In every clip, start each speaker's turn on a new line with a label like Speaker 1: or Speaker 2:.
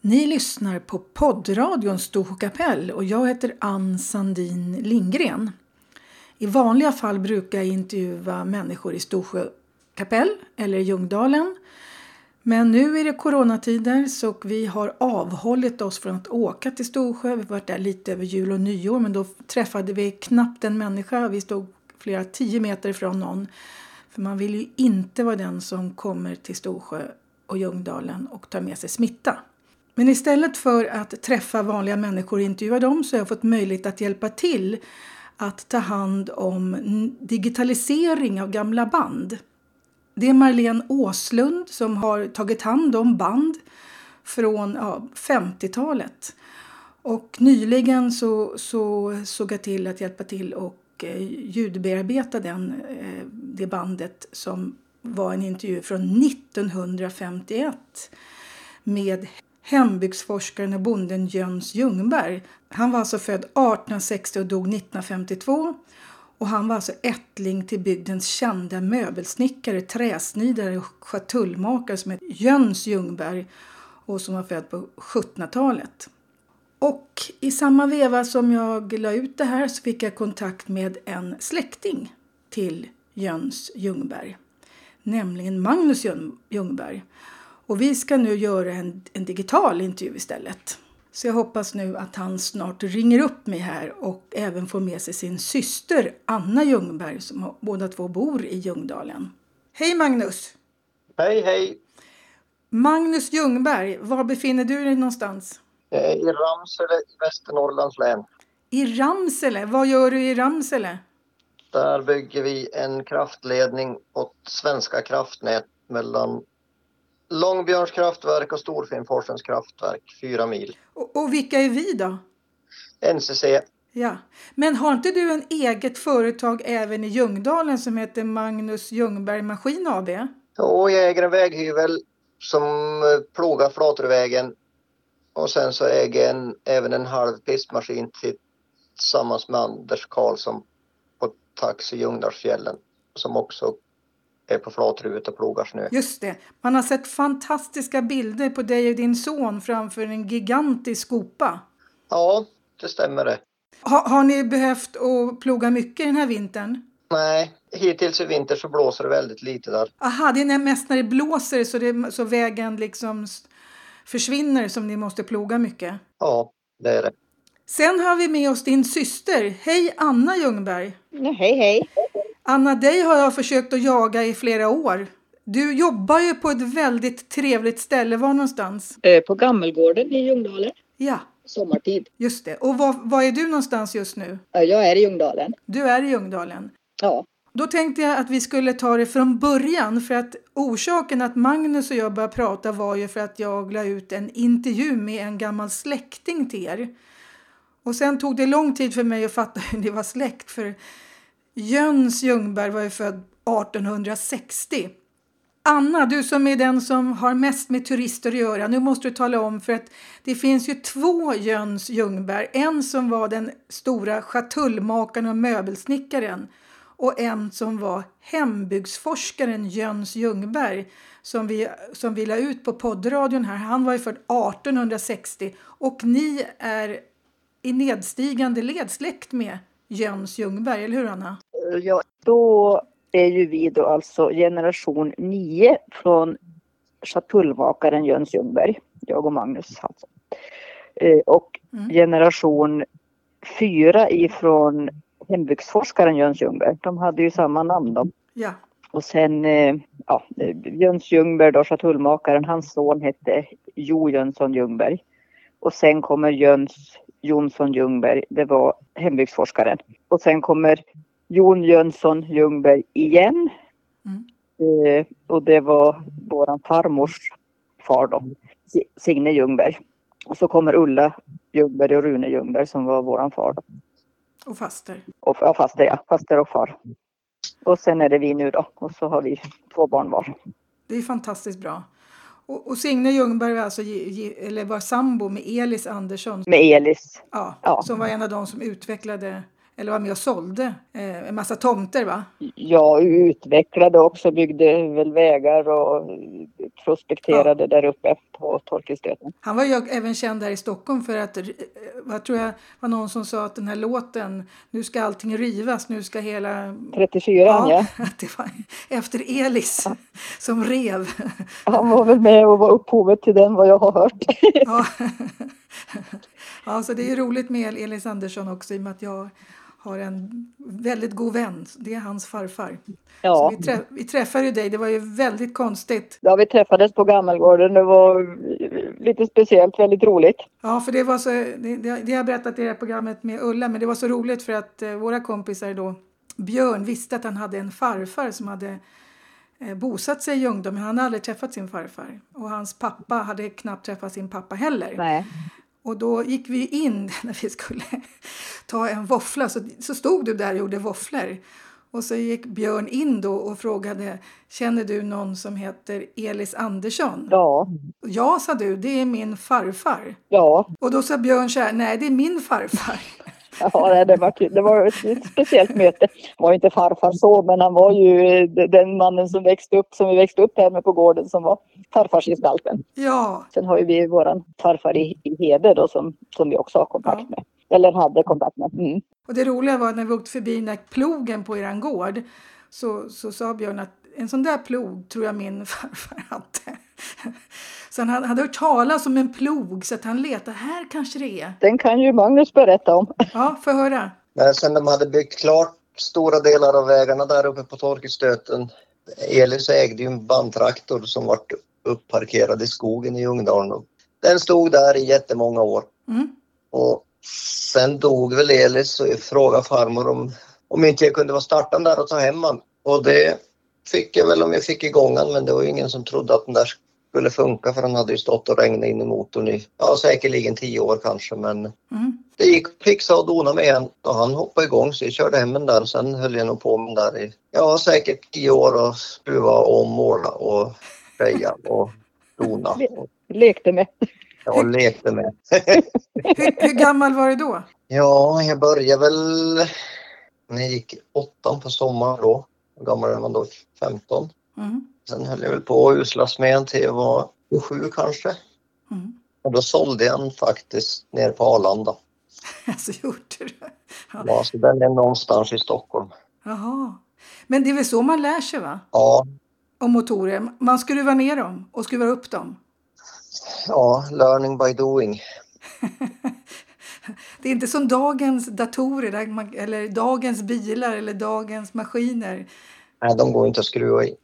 Speaker 1: Ni lyssnar på poddradion Stoho kapell och jag heter Ann Sandin Lindgren. I vanliga fall brukar jag intervjua människor i Storsjö kapell eller i Ljungdalen. Men nu är det coronatider så vi har avhållit oss från att åka till Storsjö. Vi har varit där lite över jul och nyår men då träffade vi knappt en människa. Vi stod flera tio meter från någon. För man vill ju inte vara den som kommer till Storsjö och Ljungdalen och tar med sig smitta. Men istället för att träffa vanliga människor och intervjua dem så har jag fått möjlighet att hjälpa till att ta hand om digitalisering av gamla band. Det är Marlene Åslund som har tagit hand om band från ja, 50-talet. Och nyligen så, så såg jag till att hjälpa till och eh, ljudbearbeta den, eh, det bandet som var en intervju från 1951 med hembygdsforskaren och bonden Jöns Ljungberg. Han var alltså född 1860 och dog 1952. Och han var alltså ättling till bygdens kända möbelsnickare, träsnidare och schatullmakare som hette Jöns Ljungberg och som var född på 1700-talet. Och i samma veva som jag la ut det här så fick jag kontakt med en släkting till Jöns Ljungberg, nämligen Magnus Ljungberg. Och vi ska nu göra en, en, digital intervju istället. Så jag hoppas nu att han snart ringer upp mig här och även får med sig sin syster Anna Ljungberg som har, båda två bor i Ljungdalen. Hej Magnus!
Speaker 2: Hej hej!
Speaker 1: Magnus Ljungberg, var befinner du dig någonstans?
Speaker 2: Eh, I Ramsele i Västernorrlands län.
Speaker 1: I Ramsele? Vad gör du i Ramsele?
Speaker 2: Där bygger vi en kraftledning åt Svenska kraftnät mellan Långbjörns kraftverk och Storfinnforsens kraftverk, fyra mil.
Speaker 1: Och, och, vilka är vi då?
Speaker 2: NCC.
Speaker 1: Ja, men har inte du en eget företag även i Ljungdalen som heter Magnus Ljungberg Maskin AB?
Speaker 2: Jo, jag äger en väghyvel som plogar Flatruvägen och sen så äger jag en, även en halv pistmaskin tillsammans med Anders Karlsson på Taxi Ljungdalsfjällen som också är på flatruet och plogar snö.
Speaker 1: Just det. Man har sett fantastiska bilder på dig och din son framför en gigantisk skopa.
Speaker 2: Ja, det stämmer det.
Speaker 1: Ha, har ni behövt att ploga mycket den här vintern?
Speaker 2: Nej, hittills i vinter så blåser det väldigt lite där.
Speaker 1: Aha, det är mest när det blåser så, det, så vägen liksom försvinner som ni måste ploga mycket?
Speaker 2: Ja, det är det.
Speaker 1: Sen har vi med oss din syster. Hej Anna Ljungberg!
Speaker 3: Hej hej!
Speaker 1: Anna, dig har jag försökt att jaga i flera år. Du jobbar ju på ett väldigt trevligt ställe. Var någonstans?
Speaker 3: Eh, På Gammelgården i Ljungdalen.
Speaker 1: Ja.
Speaker 3: Sommartid.
Speaker 1: Just det. Och var, var är du någonstans just nu?
Speaker 3: Jag är i Ljungdalen.
Speaker 1: Du är i Ljungdalen?
Speaker 3: Ja.
Speaker 1: Då tänkte jag att vi skulle ta det från början för att orsaken att Magnus och jag började prata var ju för att jag la ut en intervju med en gammal släkting till er. Och sen tog det lång tid för mig att fatta hur ni var släkt för Jöns Ljungberg var ju född 1860. Anna, du som är den som har mest med turister att göra, nu måste du tala om för att det finns ju två Jöns Ljungberg. En som var den stora schatullmakaren och möbelsnickaren och en som var hembygdsforskaren Jöns Ljungberg som vi, som vi la ut på poddradion här. Han var ju född 1860 och ni är i nedstigande led släkt med Jöns Ljungberg, eller hur Anna?
Speaker 3: Eh, Ja, då är ju vi då alltså generation 9 från schatullmakaren Jöns Ljungberg, jag och Magnus alltså. Och mm. generation 4 ifrån hembygdsforskaren Jöns Ljungberg. De hade ju samma namn de.
Speaker 1: Ja.
Speaker 3: Och sen eh, ja, Jöns Ljungberg då, schatullmakaren, hans son hette Jo Jönsson Ljungberg. Och sen kommer Jöns Jonsson Ljungberg, det var hembygdsforskaren. Och sen kommer Jon Jönsson Ljungberg igen. Mm. Eh, och det var våran farmors far då, Signe Ljungberg. Och så kommer Ulla Ljungberg och Rune Ljungberg som var våran far. Då.
Speaker 1: Och faster.
Speaker 3: Och, ja, faster ja. Faster och far. Och sen är det vi nu då. Och så har vi två barn var.
Speaker 1: Det är fantastiskt bra. Och, och Signe Ljungberg var, alltså, eller var sambo med Elis Andersson.
Speaker 3: Med Elis.
Speaker 1: Ja, ja, Som var en av de som utvecklade, eller var med och sålde, eh, en massa tomter va?
Speaker 3: Ja, utvecklade också, byggde väl vägar och prospekterade där uppe på Torkelstöten.
Speaker 1: Han var ju även känd här i Stockholm för att, eh, vad tror jag, var någon som sa att den här låten, nu ska allting rivas, nu ska hela...
Speaker 3: 34 ja. ja.
Speaker 1: att det var efter Elis som rev.
Speaker 3: Han var väl med och var upphovet till den vad jag har hört.
Speaker 1: Ja. ja, så det är ju roligt med Elis Andersson också i och med att jag har en väldigt god vän, det är hans farfar. Så
Speaker 3: Ja.
Speaker 1: vi, trä- vi träffade ju dig, det var ju väldigt konstigt.
Speaker 3: ja, vi träffades på Gammelgården. Det var eh, lite speciellt, väldigt roligt.
Speaker 1: Ja, för det var så, det, det, det har jag berättat i det här programmet med Ulla, men det var så roligt för att eh, våra kompisar då, Björn visste att han hade en farfar som hade eh, bosatt sig i Ljungdal, men han hade aldrig träffat sin farfar. Och hans pappa hade knappt träffat sin pappa heller.
Speaker 3: Nej.
Speaker 1: Och då gick vi in när vi skulle ta en våffla, så, så stod du där och gjorde våfflor. Och så gick Björn in då och frågade, känner du någon som heter Elis Andersson?
Speaker 3: Ja,
Speaker 1: Ja, sa du, det är min farfar.
Speaker 3: ja,
Speaker 1: Och då sa Björn så här, nej det är min farfar.
Speaker 3: ja nej, det, var, kul. det var ett ett speciellt möte. Han var ju inte farfar så, men han var ju eh, de- den mannen som växte upp, som vi växte upp här med på gården, som var farfarsgestalten.
Speaker 1: Ja,
Speaker 3: Sen har ju vi våran farfar i, i Hede då, som, som vi också har kontakt med. Eller hade kontakt med. Mm.
Speaker 1: och det roliga var när vi åkte förbi när plogen på eran gård så, så sa Björn att en sån där plog tror jag min farfar hade. Så han hade- hade hört talas om en plog så att han letade, här kanske det är.
Speaker 3: Den kan ju Magnus berätta om.
Speaker 1: Ja, få höra.
Speaker 2: Men sen de hade byggt klart stora delar av vägarna där uppe på Torkelstöten. Elis ägde ju en bandtraktor som var uppparkerad i skogen i Ljungdalen. och Den stod där i jättemånga år.
Speaker 1: Mm.
Speaker 2: Och sen dog väl Elis och jag frågade farmor om, om inte jag kunde vara startan där och ta hem han. Och det fick jag väl om jag fick igång han men det var ju ingen som trodde att den där skulle funka för han hade ju stått och regnat in i motorn i ja, säkerligen tio år kanske men
Speaker 1: Mm.
Speaker 2: det gick att fixa och dona med en och han hoppade igång så jag körde hem den där och sen höll jag nog på med den där i ja, säkert tio år och skruva och måla och greja och dona och,
Speaker 3: Lekte med.
Speaker 2: och lekte med.
Speaker 1: Hur, hur gammal var du då?
Speaker 2: Ja, jag började väl när jag gick i åttan på sommaren då. Hur gammal är man då? 15.
Speaker 1: Mm.
Speaker 2: Sen höll jag väl på att uslas med en till jag var 27 kanske.
Speaker 1: Mm.
Speaker 2: Och då sålde jag den faktiskt ner på Arlanda.
Speaker 1: Alltså gjorde du? Ja.
Speaker 2: Ja, så den är någonstans i Stockholm.
Speaker 1: Jaha. Men det är väl så man lär sig va?
Speaker 2: Ja,
Speaker 1: Om motorer. Man skruvar ner dem och skruvar upp dem.
Speaker 2: ja learning by doing.
Speaker 1: Det är inte som dagens datorer där man, eller dagens bilar eller dagens maskiner.
Speaker 2: Nej, de går inte att skruva i.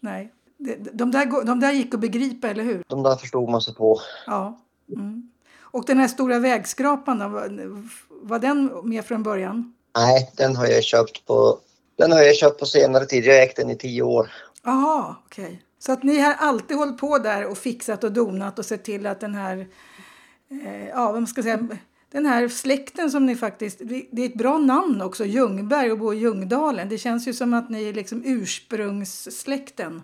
Speaker 1: Nej, Det- de där, går- de där gick att begripa, eller hur?
Speaker 2: De där förstod man sig på.
Speaker 1: Ja. Mm. Och den här stora vägskrapan, då, var, var den med från början?
Speaker 2: Nej, den har jag köpt på, den har jag köpt på senare tid. Jag har ägt den i tio år.
Speaker 1: Jaha, okej. Så att ni har alltid hållit på där och fixat och donat och sett till att den här, eh, ja vad man ska säga, den här släkten som ni faktiskt, det det är ett bra namn också, Ljungberg och bo i Ljungdalen. Det känns ju som att ni är liksom ursprungssläkten.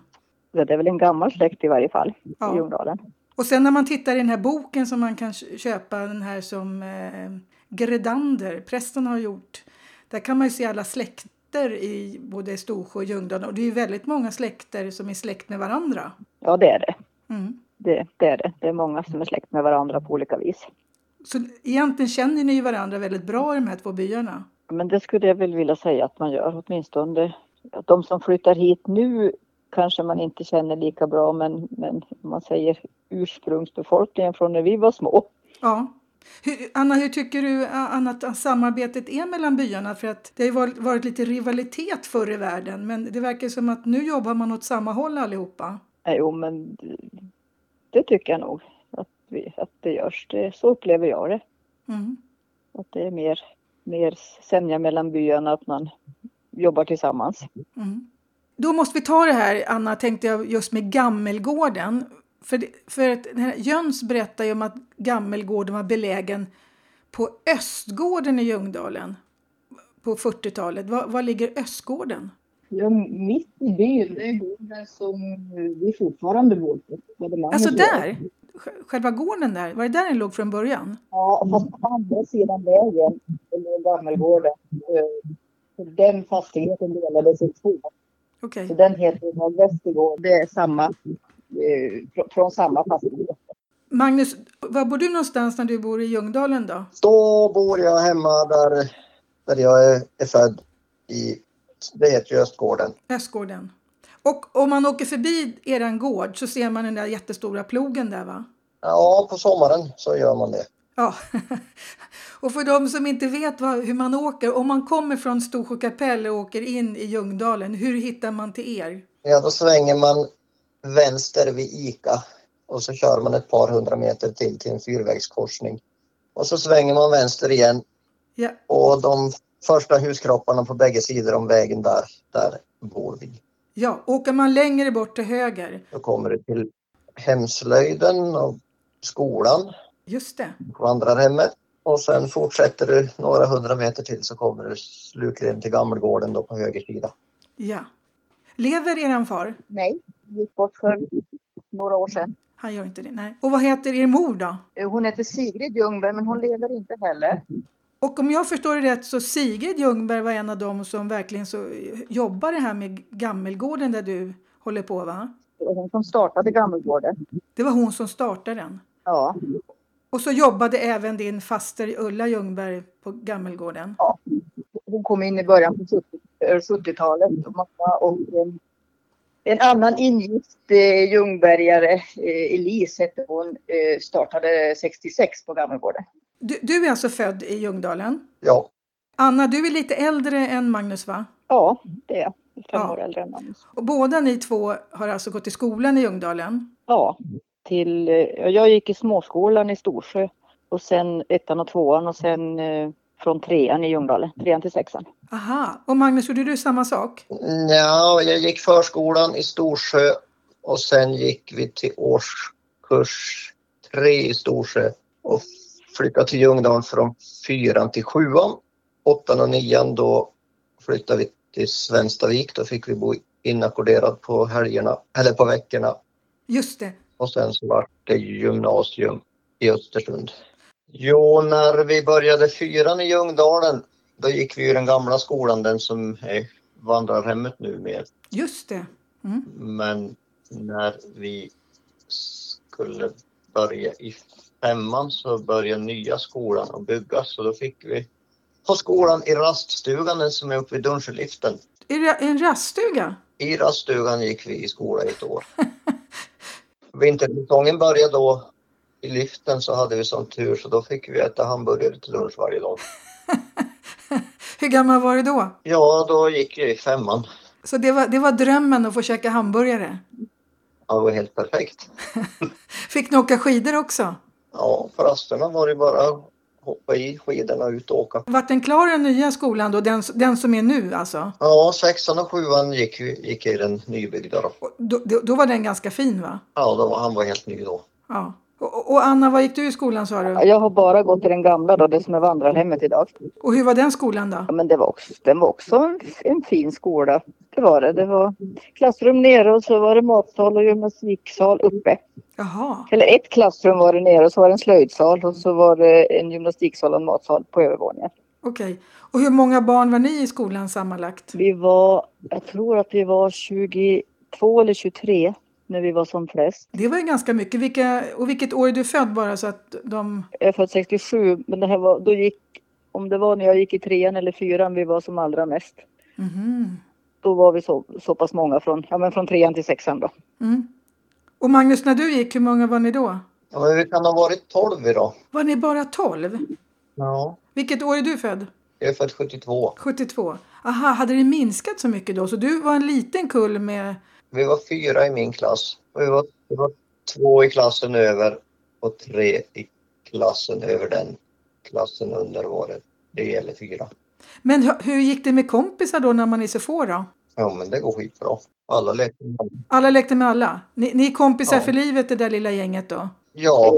Speaker 3: Så det är väl en gammal släkt i varje fall
Speaker 1: Ja.
Speaker 3: i Ljungdalen.
Speaker 1: Och sen när man tittar i den här boken som man kan kö- köpa, den här som eh, Gredander, prästen har gjort. Där kan man ju se alla släkter i både Storsjö och Ljungdalen. Och det är ju väldigt många släkter som är släkt med varandra.
Speaker 3: Ja, det är det.
Speaker 1: Mm.
Speaker 3: det. Det är det. Det är många som är släkt med varandra på olika vis.
Speaker 1: Så egentligen känner ni ju varandra väldigt bra i de här två byarna.
Speaker 3: Men det skulle jag väl vilja säga att man gör åtminstone. Att De som flyttar hit nu kanske man inte känner lika bra men, men om man säger ursprungsbefolkningen från när vi var små.
Speaker 1: Ja. Hur, Anna, hur tycker du a- Anna, att samarbetet är mellan byarna? För att det har ju varit, varit lite rivalitet förr i världen, men det verkar som att nu jobbar man åt samma håll allihopa.
Speaker 3: Eh, Jo men det tycker jag nog att, vi, att det görs. Det, så upplever jag det.
Speaker 1: Mm.
Speaker 3: Att det är mer, mer sämja mellan byarna att man jobbar tillsammans.
Speaker 1: Mm. Då måste vi ta det här, Anna, tänkte jag, just med Gammelgården. För, det- för att den här, Jöns berättar ju om att Gammelgården var belägen på Östgården i Ljungdalen på 40-talet. Var, var ligger Östgården?
Speaker 4: Ja, mitt i byn, det är gården som vi fortfarande bor på. Där det man
Speaker 1: Alltså
Speaker 4: bor.
Speaker 1: där? Sj- Själva gården där? Var det där den låg från början?
Speaker 4: Ja, fast på andra sidan vägen, eller Gammelgården. eh, för Den fastigheten delades i två,
Speaker 1: Okej.
Speaker 4: så den heter Norr Västergård. Det är samma eh, från samma fastighet.
Speaker 1: Magnus, var bor du någonstans när du bor i Ljungdalen då?
Speaker 2: Då bor jag hemma där, där jag är, är född. I, det heter ju Östgården.
Speaker 1: Östgården. Och om man åker förbi eran gård så ser man den där jättestora plogen där va?
Speaker 2: Ja, på sommaren så gör man det.
Speaker 1: Ja. Och för de som inte vet vad, hur man åker, om man kommer från Storsjö kapell och åker in i Ljungdalen, hur hittar man till er?
Speaker 2: Ja, då svänger man vänster vid ICA och så kör man ett par hundra meter till till en fyrvägskorsning. Och så svänger man vänster igen
Speaker 1: Ja,
Speaker 2: och de första huskropparna på bägge sidor om vägen där, där bor vi.
Speaker 1: ja. åker man längre bort till höger,
Speaker 2: Då kommer det till hemslöjden och skolan,
Speaker 1: just det.
Speaker 2: vandrarhemmet. Och sen fortsätter du några hundra meter till så kommer du slutligen till Gammelgården då på höger sida.
Speaker 1: Ja. Lever eran far?
Speaker 4: Nej, gick bort för några år sedan.
Speaker 1: Han gör inte det, nej. Och vad heter er mor då?
Speaker 4: Eh, Hon heter Sigrid Ljungberg men hon lever inte heller.
Speaker 1: Och om jag förstår det rätt så Sigrid Ljungberg var en av dem som verkligen så eh, jobbar det här med Gammelgården där du håller på va?
Speaker 4: Det var hon som startade Gammelgården.
Speaker 1: Det var hon som startade den.
Speaker 4: Ja,
Speaker 1: Och så jobbade även din faster Ulla Ljungberg på Gammelgården.
Speaker 4: hon kom in i början på 70 eh, 70-talet och mamma och en, en annan ingift eh, ljungbergare, eh, Elise hette hon, eh, startade 66 på Gammelgården.
Speaker 1: Du, du är alltså född i Ljungdalen.
Speaker 2: Ja,
Speaker 1: Anna, du är lite äldre än Magnus va?
Speaker 3: Ja, det är jag. Fem
Speaker 1: Ja.
Speaker 3: år äldre än Magnus.
Speaker 1: Och båda ni två har alltså gått i skolan i Ljungdalen.
Speaker 3: Ja, till, eh, jag gick i småskolan i Storsjö och sen ettan och tvåan och sen eh, från trean i Ljungdalen, trean till sexan.
Speaker 1: Aha, och Magnus, gjorde du samma sak?
Speaker 2: ja jag gick förskolan i Storsjö och sen gick vi till årskurs tre i Storsjö och flyttade till Ljungdalen från fyran till sjuan. Åttan och nian då flyttade vi till Svenstavik. Då fick vi bo inackorderad på helgerna, eller på veckorna
Speaker 1: Just det.
Speaker 2: och sen så var det gymnasium i Östersund. Jo, när vi började fyran i Ljungdalen, då gick vi ju den gamla skolan, den som är vandrarhemmet nu med.
Speaker 1: Just det. Mm.
Speaker 2: Men när vi skulle börja i femman så började nya skolan att byggas och då fick vi på skolan i raststugan, den som är uppe vid Dunsjeliften.
Speaker 1: Är det en raststuga?
Speaker 2: I raststugan gick vi i skola i ett år. Vintersäsongen började då. I liften så hade vi sån tur så då fick vi äta hamburgare till lunch varje dag.
Speaker 1: Hur gammal var du då?
Speaker 2: Ja, då gick jag i femman.
Speaker 1: Så det var, det var drömmen att få käka hamburgare.
Speaker 2: Ja, Det var helt perfekt.
Speaker 1: Fick ni åka skidor också?
Speaker 2: Ja, på rasterna var det bara att hoppa i skidorna och ut och åka.
Speaker 1: Vart den klar den nya skolan då? Den, den som är nu alltså?
Speaker 2: Ja, sexan och sjuan gick, vi- gick i den nybyggda då.
Speaker 1: Och Då, då, då var den ganska fin va?
Speaker 2: Ja, då var, han var helt ny då.
Speaker 1: Ja. Och, och Anna, vad gick du i skolan sa
Speaker 3: Ja,
Speaker 1: du?
Speaker 3: Jag har bara gått i den gamla då, det som är vandrarhemmet idag.
Speaker 1: Och hur var den skolan då?
Speaker 3: Ja, men det var också, den var också en, en fin skola. Det var det. Det var klassrum nere och så var det matsal och gymnastiksal uppe.
Speaker 1: Jaha,
Speaker 3: Eller ett klassrum var det nere och så var det en slöjdsal och så var det en gymnastiksal och en matsal på övervåningen.
Speaker 1: okej. Och hur många barn var ni i skolan sammanlagt?
Speaker 3: Vi var, jag tror att vi var 22 eller 23 när vi var som flest.
Speaker 1: Det var ju ganska mycket. Vilka, och vilket år är du född bara så att de...
Speaker 3: Jag är född 67 men det här var, då gick, om det var när jag gick i trean eller fyran vi var som allra mest.
Speaker 1: Mhm.
Speaker 3: Då var vi så, så pass många från, ja, men från trean till sexan då.
Speaker 1: Mm. Och Magnus, när du gick, hur många var ni då?
Speaker 2: Ja, men vi kan ha varit 12 idag.
Speaker 1: Var ni bara 12?
Speaker 2: Ja.
Speaker 1: Vilket år är du född?
Speaker 2: Jag är född 72.
Speaker 1: 72. Aha, hade det minskat så mycket då? Så du var en liten kull med...
Speaker 2: Vi var fyra i min klass. Och vi var, det var två i klassen över och tre i klassen över den. Klassen under var det. Det gäller fyra.
Speaker 1: Men hur, hur gick det med kompisar då när man är så få då?
Speaker 2: Ja, men det går skitbra. Alla lekte med alla.
Speaker 1: Alla lekte med alla? Ni, ni är kompisar
Speaker 2: Ja.
Speaker 1: för livet det där lilla gänget då?
Speaker 2: Ja,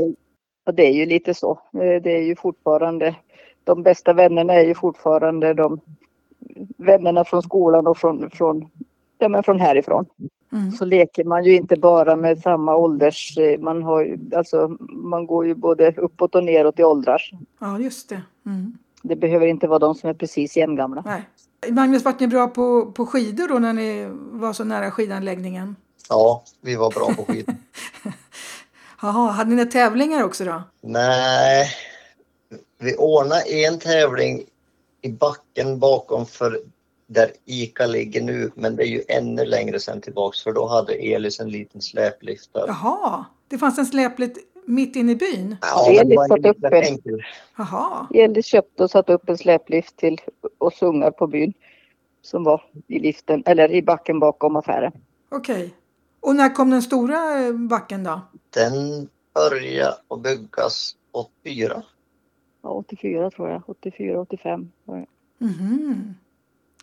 Speaker 3: Och det är ju lite så. Eh, Det är ju fortfarande, de bästa vännerna är ju fortfarande de vännerna från skolan och från, från, ja, men från härifrån.
Speaker 1: Mm.
Speaker 3: Så leker man ju inte bara med samma ålders, eh, man, har, ju- alltså, man går ju både uppåt och neråt i åldrar.
Speaker 1: Ja, just det. Mm.
Speaker 3: Det behöver inte vara de som är precis jämngamla.
Speaker 1: Nej. Magnus, vart ni bra på, på skidor då när ni var så nära skidanläggningen?
Speaker 2: Ja, vi var bra på skid.
Speaker 1: Jaha, hade ni några tävlingar också då?
Speaker 2: Nej, vi ordnade en tävling i backen bakom för där ICA ligger nu, men det är ju ännu längre sen tillbaks för då hade Elis en liten släplift där.
Speaker 1: Jaha, det fanns en släplift mitt inne i byn?
Speaker 2: Ja,
Speaker 3: Elis
Speaker 2: men det var
Speaker 3: satt
Speaker 2: inte
Speaker 3: upp
Speaker 2: så
Speaker 3: en-
Speaker 2: enkelt.
Speaker 1: Jaha,
Speaker 3: Elis köpte och satte upp en släplift till oss ungar på byn. Som var i liften, eller i backen bakom affären.
Speaker 1: okej. Och när kom den stora eh, backen då?
Speaker 2: Den började att byggas 84.
Speaker 3: Ja, 84 tror jag. 84, 85. var det.
Speaker 1: Mhm.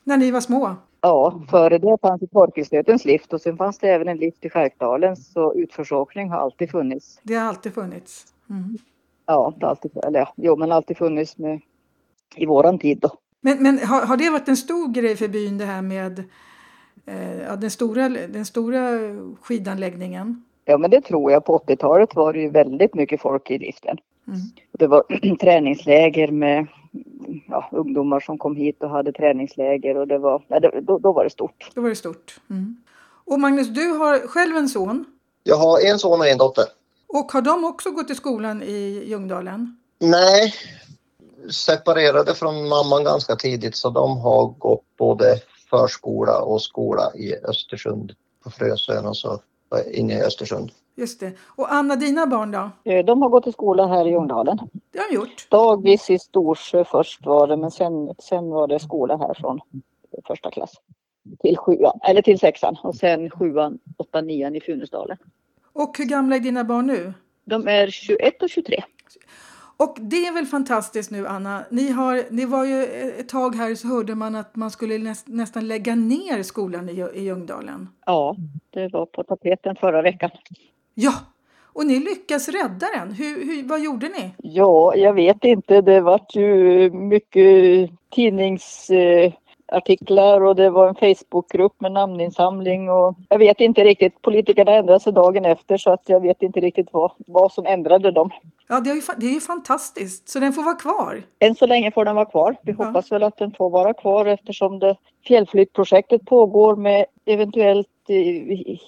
Speaker 1: När ni var små?
Speaker 3: Ja, före det fanns ju Torkelsnötens lift och sen fanns det även en lift i Skärkdalen. Så utförsåkning har alltid funnits.
Speaker 1: Det har alltid funnits. Mm.
Speaker 3: Ja, inte alltid, eller ja, jo, men alltid funnits med, i våran tid då.
Speaker 1: Men, men har, har det varit en stor grej för byn det här med eh, ja, den, stora, den stora skidanläggningen?
Speaker 3: Ja, men det tror jag. På 80-talet var det ju väldigt mycket folk i liften.
Speaker 1: Mm.
Speaker 3: Och Det var träningsläger med ja, ungdomar som kom hit och hade träningsläger och det var, ja, det, då, då var det stort.
Speaker 1: Då var det stort. Mm. Och Magnus, du har själv en son
Speaker 2: Jag har en son och en dotter.
Speaker 1: och har de också gått i skolan i Ljungdalen?
Speaker 2: Nej, separerade från mamman ganska tidigt så de har gått både förskola och skola i Östersund på Frösön och så inne i Östersund.
Speaker 1: Just det. Och Anna, dina barn då?
Speaker 3: Eh, De har gått i skolan här i Ljungdalen.
Speaker 1: Det har de gjort.
Speaker 3: Dagis i Storsjö först var det, men sen, sen var det skola här från första klass. Till sjuan, eller till sexan och sen sjuan, åttan, nian i Funäsdalen.
Speaker 1: Och hur gamla är dina barn nu?
Speaker 3: De är 21 och 23.
Speaker 1: Och det är väl fantastiskt nu, Anna. Ni, har, ni var ju ett tag här så hörde man att man skulle näst, nästan lägga ner skolan i, Ljö- i Ljungdalen.
Speaker 3: Ja, det var på tapeten förra veckan.
Speaker 1: Ja, och ni lyckas rädda den. Hur, hur, vad gjorde ni?
Speaker 3: Ja, jag vet inte. Det vart ju mycket tidningsartiklar och det var en Facebookgrupp med namninsamling och jag vet inte riktigt. Politikerna ändrade sig dagen efter så att jag vet inte riktigt vad, vad som ändrade dem.
Speaker 1: Ja, det är ju, fa- det är ju fantastiskt, så den får vara kvar.
Speaker 3: Än så länge får den vara kvar. Vi
Speaker 1: Ja.
Speaker 3: hoppas väl att den får vara kvar eftersom det fjällflyttprojektet pågår med eventuellt eh,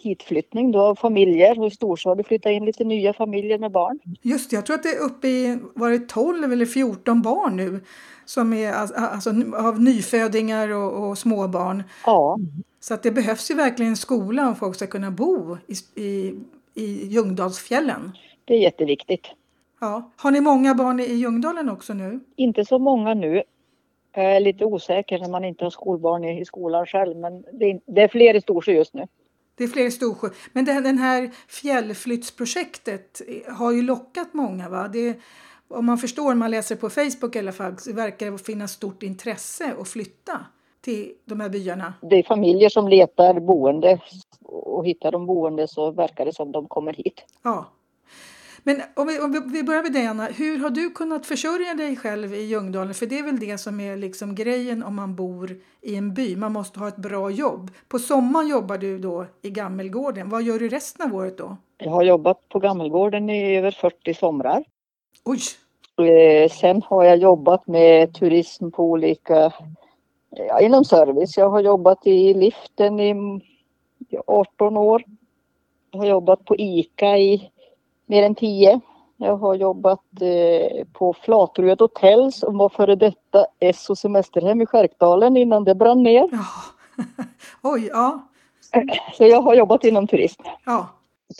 Speaker 3: hitflyttning då av familjer och i Storsjö har det flyttat in lite nya familjer med barn.
Speaker 1: Just det, jag tror att det är uppe i var det 12 eller 14 barn nu som är alltså, alltså, av nyfödingar och, och småbarn.
Speaker 3: Ja,
Speaker 1: Så att det behövs ju verkligen en skola om folk ska kunna bo i, i, i Ljungdalsfjällen.
Speaker 3: det är jätteviktigt.
Speaker 1: Ja. Har ni många barn i i Ljungdalen också nu?
Speaker 3: Inte så många nu. Jag är lite osäker när man inte har skolbarn i i skolan själv, men det är, det är fler i Storsjö just nu.
Speaker 1: Det är fler i Storsjö. Men det, den här fjällflyttsprojektet har ju lockat många. Va? Det, om man förstår, man läser på Facebook i alla fall, så verkar det finnas stort intresse att flytta till de här byarna.
Speaker 3: Det är familjer som letar boende och hittar de boende så verkar det som de kommer hit.
Speaker 1: Ja. Men om vi, om vi- vi börjar med dig, Anna. Hur har du kunnat försörja dig själv i Ljungdalen? För det är väl det som är liksom grejen om man bor i en by. Man måste ha ett bra jobb. På sommaren jobbar du då i Gammelgården. Vad gör du resten av året då?
Speaker 3: Jag har jobbat på Gammelgården i över 40 somrar.
Speaker 1: Oj!
Speaker 3: Eh, Sen har jag jobbat med turism på olika, ja, inom service. Jag har jobbat i liften i mm, 18 år. Jag har jobbat på ICA i mer än 10. Jag har jobbat eh, på Flatruet Hotell som var före detta S och semesterhem i Skärkdalen innan det brann ner.
Speaker 1: Ja. Oj, ja.
Speaker 3: Så jag har jobbat inom turism
Speaker 1: ja.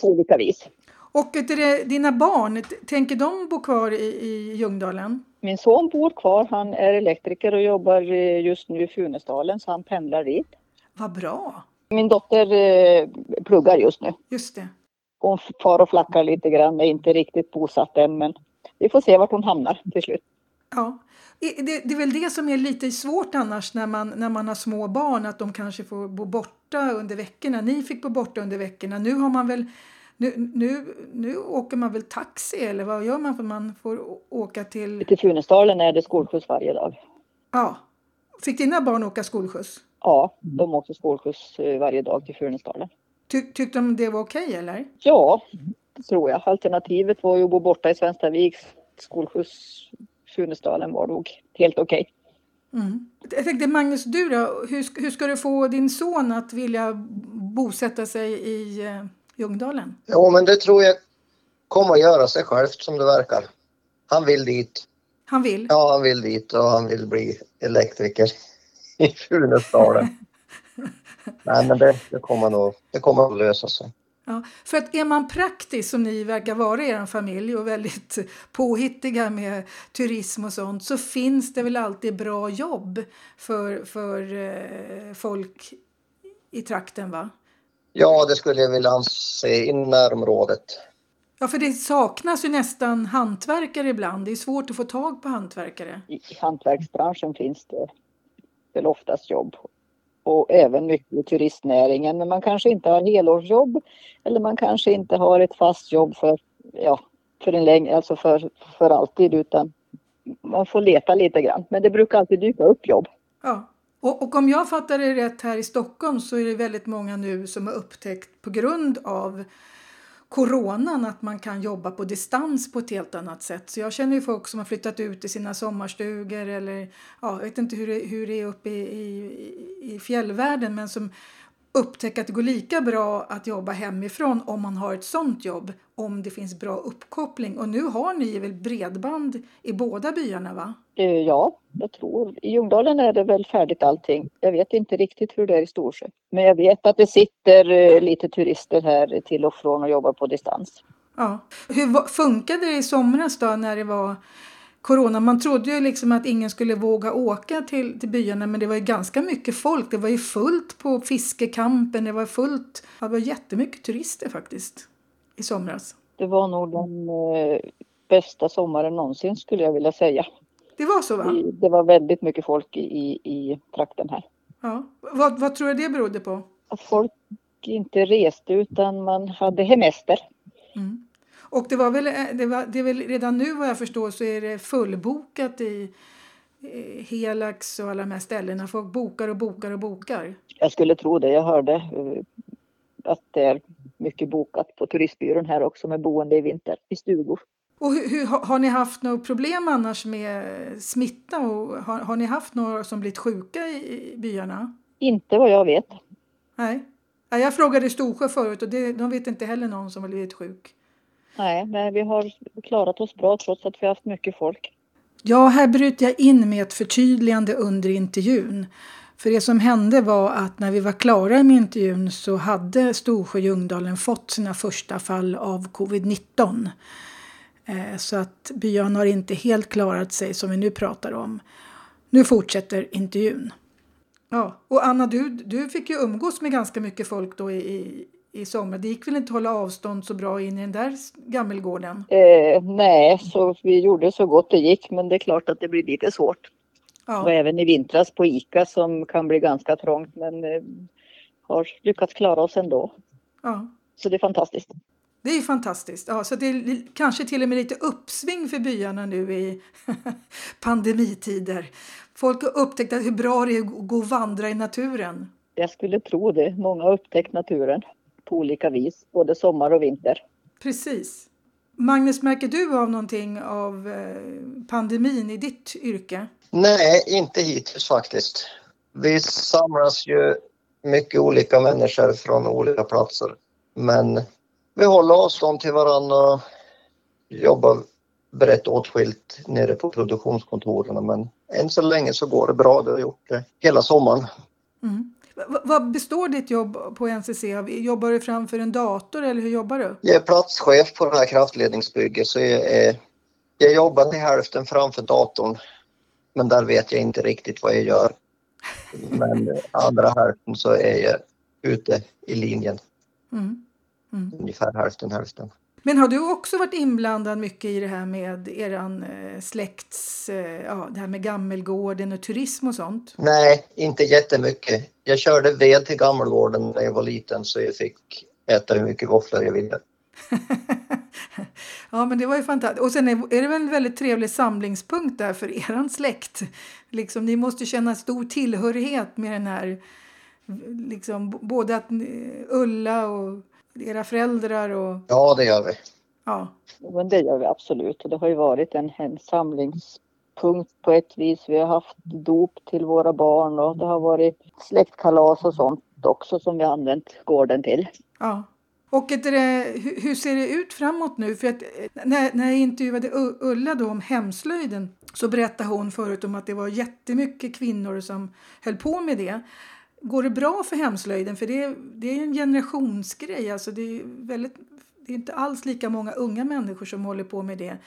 Speaker 3: på olika vis.
Speaker 1: Och vet du det, dina barn, t- tänker de bo kvar i, i Ljungdalen?
Speaker 3: Min son bor kvar. Han är elektriker och jobbar eh, just nu i Funäsdalen så han pendlar dit.
Speaker 1: Vad bra!
Speaker 3: Min dotter eh, pluggar just nu.
Speaker 1: Just det.
Speaker 3: Hon far och flackar lite grann, är inte riktigt bosatt än men vi får se vart hon hamnar till slut.
Speaker 1: Ja. I- Det, det är väl det som är lite svårt annars när man, när man har små barn, att de kanske får bo borta under veckorna. Ni fick bo borta under veckorna. Nu har man väl nu, nu, nu åker man väl taxi eller vad gör man för man får å- åka till...
Speaker 3: Till Funäsdalen är det skolskjuts varje dag.
Speaker 1: Ja. Fick dina barn åka skolskjuts?
Speaker 3: Ja, de åker skolskjuts eh, varje dag till Funäsdalen.
Speaker 1: Ty, tyckte de det var okej eller?
Speaker 3: Ja, det tror jag. Alternativet var ju att bo borta i Svenstavik. Skolskjuts Funäsdalen var nog helt okej.
Speaker 1: Mm. Jag tänkte Magnus, du då? Hur, sk- hur ska du få din son att vilja bosätta sig i eh, Ljungdalen?
Speaker 2: Jo, men det tror jag kommer att göra sig självt som det verkar. Han vill dit.
Speaker 1: Han vill?
Speaker 2: Ja, han vill dit och han vill bli elektriker i Funäsdalen. Nej, men det, det kommer nog det kommer att lösa sig.
Speaker 1: Ja, för att är man praktisk som ni verkar vara i er familj och väldigt påhittiga med turism och sånt så finns det väl alltid bra jobb för, för eh, folk i trakten va?
Speaker 2: Ja, det skulle jag vilja se i närområdet.
Speaker 1: Ja, för det saknas ju nästan hantverkare ibland. Det är svårt att få tag på hantverkare.
Speaker 3: I hantverksbranschen finns det väl oftast jobb. Och även mycket i turistnäringen. Men man kanske inte har helårsjobb. Eller man kanske inte har ett fast jobb för, ja, för, en läng- alltså för, för alltid. Utan man får leta lite grann. Men det brukar alltid dyka upp jobb.
Speaker 1: Ja. Och, och om jag fattar det rätt här i Stockholm så är det väldigt många nu som har upptäckt på grund av coronan att man kan jobba på distans på ett helt annat sätt. Så jag känner ju folk som har flyttat ut i sina sommarstugor eller ja, jag vet inte hur det, hur det är uppe i, i, i fjällvärlden men som upptäcker att det går lika bra att jobba hemifrån om man har ett sånt jobb om det finns bra uppkoppling. Och nu har ni väl bredband i båda byarna va?
Speaker 3: Eh, Ja, jag tror. I Ljungdalen är det väl färdigt allting. Jag vet inte riktigt hur det är i Storsjö. Men jag vet att det sitter eh, lite turister här till och från och jobbar på distans.
Speaker 1: Ja. Hur va- funkade det i somras då när det var corona? Man trodde ju liksom att ingen skulle våga åka till, till byarna men det var ju ganska mycket folk. Det var ju fullt på fiskekampen, det var fullt. ja, Det var jättemycket turister faktiskt i somras.
Speaker 3: Det var nog den eh, bästa sommaren någonsin skulle jag vilja säga.
Speaker 1: Det var så va?
Speaker 3: Det var väldigt mycket folk i, i, i trakten här.
Speaker 1: Ja. Vad, vad tror du det berodde på?
Speaker 3: Att folk inte reste utan man hade hemester.
Speaker 1: Mm. Och det var väl, eh, det var, det är väl redan nu vad jag förstår så är det fullbokat i eh, Helax och alla de här ställena. Folk bokar och bokar och bokar.
Speaker 3: Jag skulle tro det. Jag hörde eh, att det är mycket bokat på turistbyrån här också med boende i vinter i stugor.
Speaker 1: Och hur, hur, har har ni haft några problem annars med smitta? Och har, har ni haft några som blivit sjuka i, i byarna?
Speaker 3: Inte vad jag vet.
Speaker 1: Nej. Ja, Jag frågade Storsjö förut och det, de vet inte heller någon som har blivit sjuk.
Speaker 3: Nej, men vi har klarat oss bra trots att vi har haft mycket folk.
Speaker 1: Ja, här bryter jag in med ett förtydligande under intervjun. För det som hände var att när vi var klara med intervjun så hade Storsjö och Ljungdalen fått sina första fall av covid-19. Eh, Så att byarna har inte helt klarat sig som vi nu pratar om. Nu fortsätter intervjun. Ja, och Anna, du, du fick ju umgås med ganska mycket folk då i, i, i sommar. Det gick väl inte att hålla avstånd så bra in i den där gammelgården?
Speaker 3: Eh, nej, så vi gjorde så gott det gick, men det är klart att det blir lite svårt.
Speaker 1: Ja.
Speaker 3: Och även i vintras på ICA som kan bli ganska trångt, men eh, har lyckats klara oss ändå.
Speaker 1: ja.
Speaker 3: Så det är fantastiskt.
Speaker 1: Det är ju fantastiskt. Ja, så det är li- kanske till och med lite uppsving för byarna nu i pandemitider. Folk har upptäckt att hur bra det är att gå och vandra i naturen.
Speaker 3: Jag skulle tro det. Många har upptäckt naturen på olika vis, både sommar och vinter.
Speaker 1: Precis. Magnus, märker du av någonting av eh, pandemin i ditt yrke?
Speaker 2: Nej, inte hittills faktiskt. Vi samlas ju mycket olika människor från olika platser. Men vi håller avstånd till varandra och jobbar brett åtskilt nere på produktionskontoren. Men än så länge så går det bra. Det har gjort det hela sommaren.
Speaker 1: Mm. Va- va- vad består ditt jobb på NCC av? Jobbar du framför en dator eller hur jobbar du?
Speaker 2: Jag är platschef på det här kraftledningsbygget så jag, är, jag jobbar till hälften framför datorn. Men där vet jag inte riktigt vad jag gör. Men andra hälften så är jag ute i linjen,
Speaker 1: Mm. Mm.
Speaker 2: ungefär hälften hälften.
Speaker 1: Men har du också varit inblandad mycket i det här med eran eh, släkts, eh, ja, det här med gammelgården och turism och sånt?
Speaker 2: Nej, inte jättemycket. Jag körde ved till Gammelgården när jag var liten så jag fick äta hur mycket våfflor jag ville.
Speaker 1: ja, men det var ju fantastiskt. Och sen är, är det väl en väldigt trevlig samlingspunkt där för eran släkt. Liksom, ni måste känna stor tillhörighet med den här, liksom, b- både att ni- Ulla och era föräldrar och
Speaker 2: Ja, det gör vi.
Speaker 1: ja.
Speaker 3: Jo, Men det gör vi absolut och det har ju varit en, en samlings tungt på ett vis. Vi har haft dop till våra barn och det har varit släktkalas och sånt också som vi har använt gården till.
Speaker 1: Ja. Och ett, eh, hur hur ser det ut framåt nu? För att eh, när, när jag intervjuade U- Ulla då om hemslöjden så berättade hon förut om att det var jättemycket kvinnor som höll på med det. Går det bra för hemslöjden? För det, är- det är ju en generationsgrej. Alltså det, är ju väldigt, det är inte alls lika många unga människor som håller på med det.